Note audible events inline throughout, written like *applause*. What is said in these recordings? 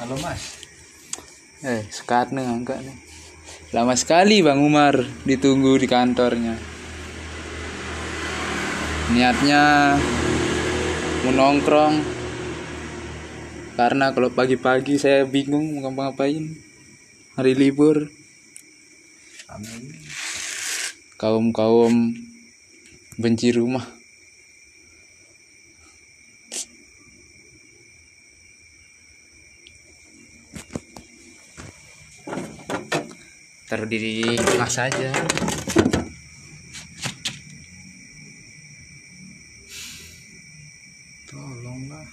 Halo Mas. Eh, sekarang angkat nih. Lama sekali Bang Umar ditunggu di kantornya. Niatnya mau nongkrong. Karena kalau pagi-pagi saya bingung mau ngapa-ngapain. Hari libur, Kami ini kaum-kaum benci rumah. Taruh di tengah saja. tolonglah.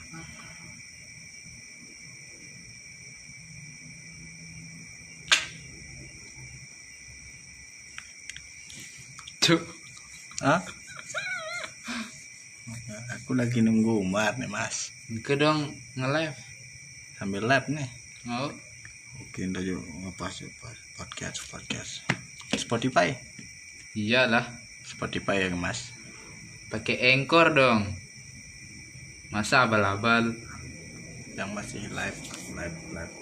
Cuk. Hah? Nah, Aku lagi nunggu Umar nih Mas. Ke dong nge-live. Oh, Sambil lab nih. Mau? Oke, ntar yuk ngepas yuk, pas. podcast podcast. Spotify. Iyalah, Spotify ya Mas. pakai engkor dong. Masa abal-abal. Yang masih live live live.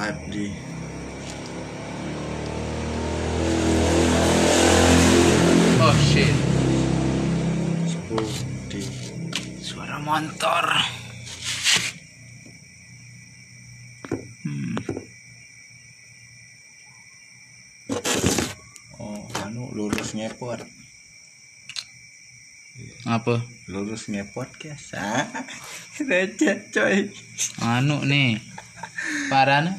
Live di Oh shit. 10 di Suara motor. Oh, anu lurus ngepot. Apa? Lurus ngepot guys. Ah. *laughs* Receh coy. Anu nih. Parana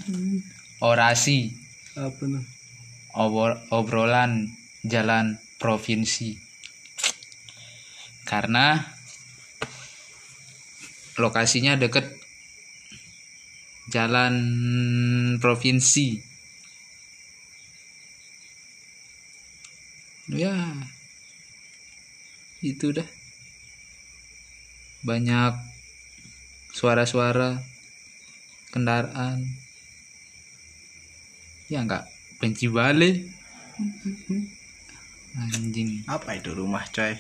orasi Apa nih? obor- obrolan jalan provinsi. Karena lokasinya deket jalan provinsi. Ya, itu dah. Banyak suara-suara kendaraan. Ya enggak benci balik. Anjing, Apa itu rumah coy?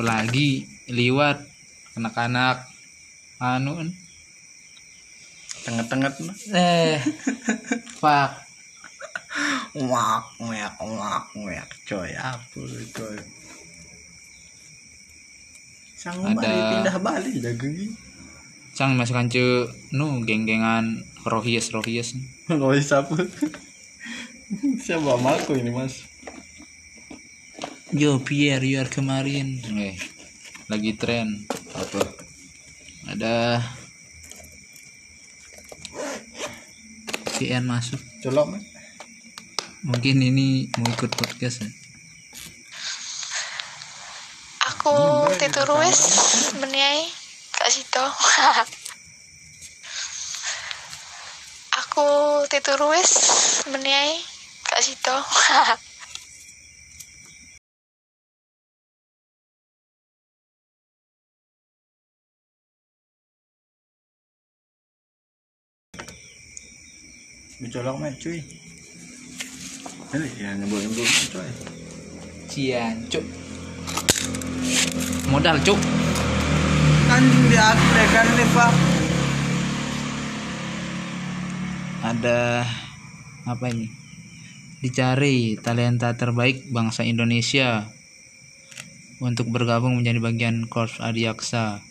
apalagi liwat anak-anak anu Tengah-tengah nah. *laughs* eh fuck Wak, wak, wak, wak, coy, apa lu, coy? Sang Umar Ada- pindah Bali dah gini. Cang masukkan cu nu geng-gengan rohies rohies Kalau siapa? Siapa sama aku ini mas? yo Pierre you are kemarin eh, lagi tren Apa? ada PN masuk Colok mas? mungkin ini mau ikut podcast ya aku tidur wis meniai ya, kak Sito *laughs* aku tidur wis meniai ya, kak Sito *laughs* Dicolok mas cuy. Ini ya nyebut nyebut coy. cian cuk modal cuk Anjing di aku deh kan ini pak. ada apa ini dicari talenta terbaik bangsa Indonesia untuk bergabung menjadi bagian Korps Adiaksa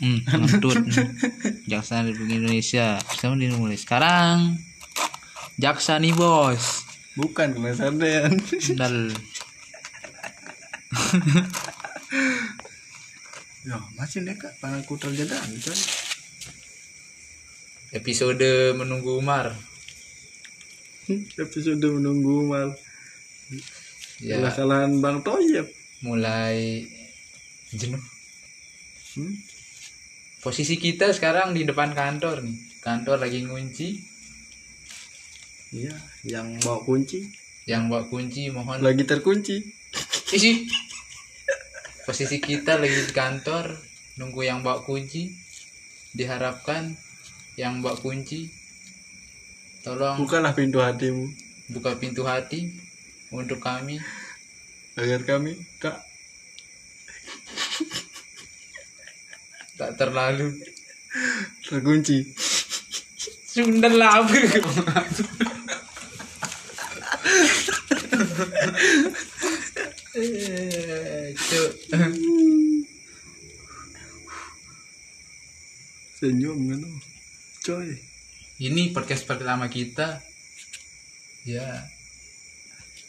hmm, ngentut hmm. Jaksa Republik Indonesia sama dimulai sekarang Jaksa nih bos Bukan mas Arden. Sendal. *laughs* Ya masih deh kak, aku terjaga coy. episode menunggu Umar Episode menunggu mal. ya Kesalahan Bang Toyep. mulai jenuh Hmm? posisi kita sekarang di depan kantor nih kantor lagi ngunci Iya, yang bawa kunci yang bawa kunci mohon lagi terkunci. Isi. Posisi kita lagi di kantor nunggu yang bawa kunci. Diharapkan yang bawa kunci tolong Bukalah pintu hatimu buka pintu hati untuk kami. agar kami tak tak terlalu terkunci Sunda lapar Eh, Cuk senyum kan coy Ini podcast pertama kita Ya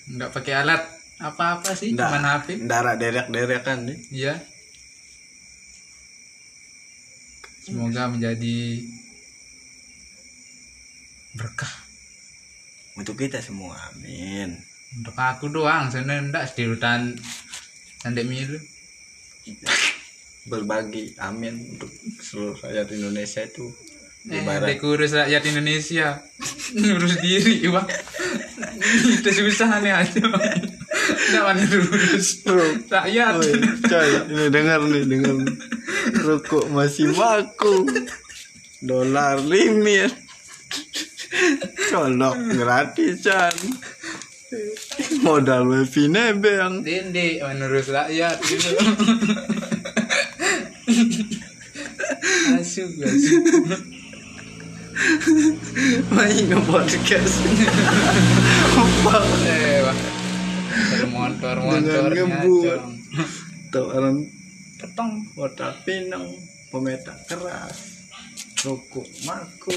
nggak pakai alat apa-apa sih Nggak. Cuman HP darah derek derekan nih Ya Semoga menjadi Berkah untuk kita semua amin Untuk aku doang Sebenernya ndak Di hutan Sandek milu berbagi amin untuk seluruh rakyat Indonesia itu Eh, ibarat kurus rakyat Indonesia ngurus diri wah itu susah nih aja nggak mana ngurus *laughs* stroke rakyat Oi, coy ini dengar nih dengar nih. rokok masih baku dolar limit colok gratisan modal wifi nebeng dende menurut rakyat gitu asyik asyik main podcast eh wah Ada motor motor Dengan ngebut. tawaran petong modal pinang pemetak keras rokok maku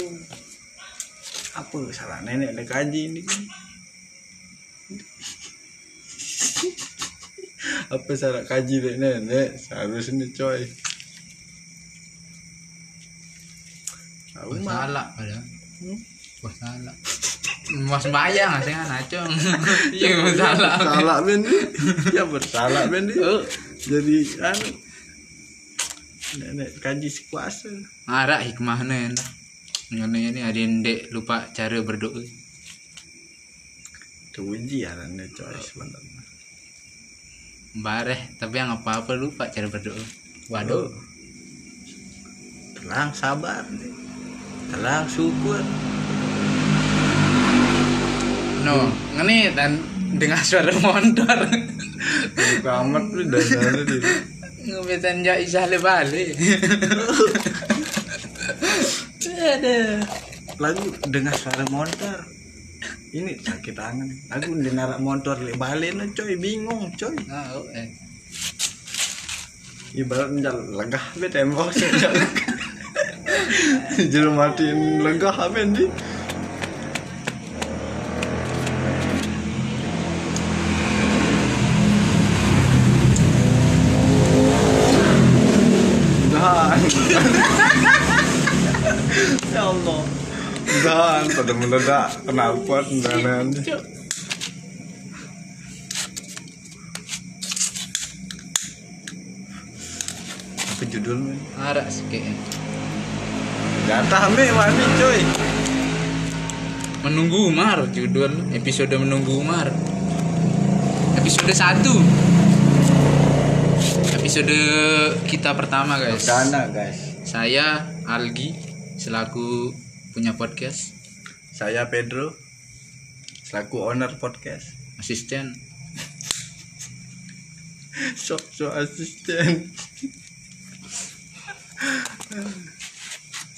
apa salah nenek dek kaji ini *laughs* apa salah kaji dek nenek seharus ini coy tahu Wah, mah salah padahal Wah, salah Mas bayang saya ngacong *laughs* Iya wah, salah salah bendi ya bersalah bendi Oh. jadi anu nenek kaji sekuasa Ngarak hikmahnya entah. Ngene ini ada ndek lupa cara berdoa. teruji ya nenek coy sebenarnya Bareh, tapi yang apa-apa lupa cara berdoa. Waduh, Tenang sabar nih. Tenang syukur. no, ngene dan dengar suara motor. Kamat tuh dan sana di. Ngebetan ja isah le balik. Lagu dengar suara motor. Ini sakit tangan. Lagu dengar motor le balen coy bingung coy. Nah, oh, eh. Ibarat menjal legah be tembok sejak. *laughs* Jero matiin legah apa di. Dan. *laughs* ya Allah. Dan pada meledak kenalpot dan apa judulnya? Ngarak sikit. eh. Jatah me wani coy. Menunggu Umar judul episode menunggu Umar. Episode 1. Episode kita pertama, guys. Dana guys. Saya Algi selaku punya podcast, Saya Pedro selaku owner podcast. asisten. Sok sok asisten.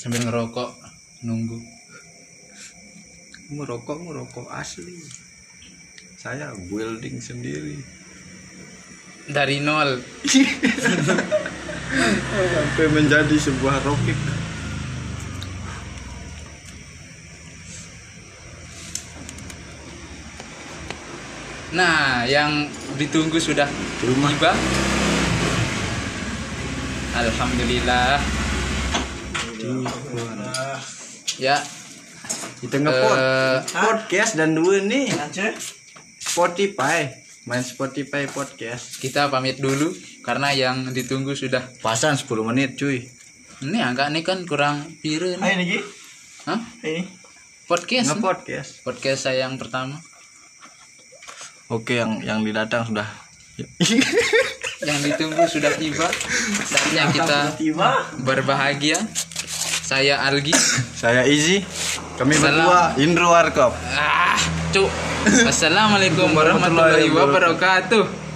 sambil ngerokok nunggu. Merokok merokok asli. Saya building sendiri. Dari nol. Sampai menjadi sebuah roket. Nah, yang ditunggu sudah Rumah. tiba. Alhamdulillah. Ya, Kita ngepod Eh. podcast dan dua nih. Spotify. Main Spotify podcast. kita pamit dulu karena yang ditunggu sudah. Pasan 10 menit cuy. Ini agak nih kan kurang pire nih. Ayo Niki. Hah? Ini. Podcast. nih. Ngepodcast. Podcast saya yang pertama Oke yang yang didatang sudah. yang ditunggu sudah tiba. Saatnya kita Tiba. berbahagia. Saya Algi. Saya Izzy. Kami Salam. berdua Indro Warkop. *laughs* Ah, cuk. Assalamualaikum warahmatullahi wabarakatuh.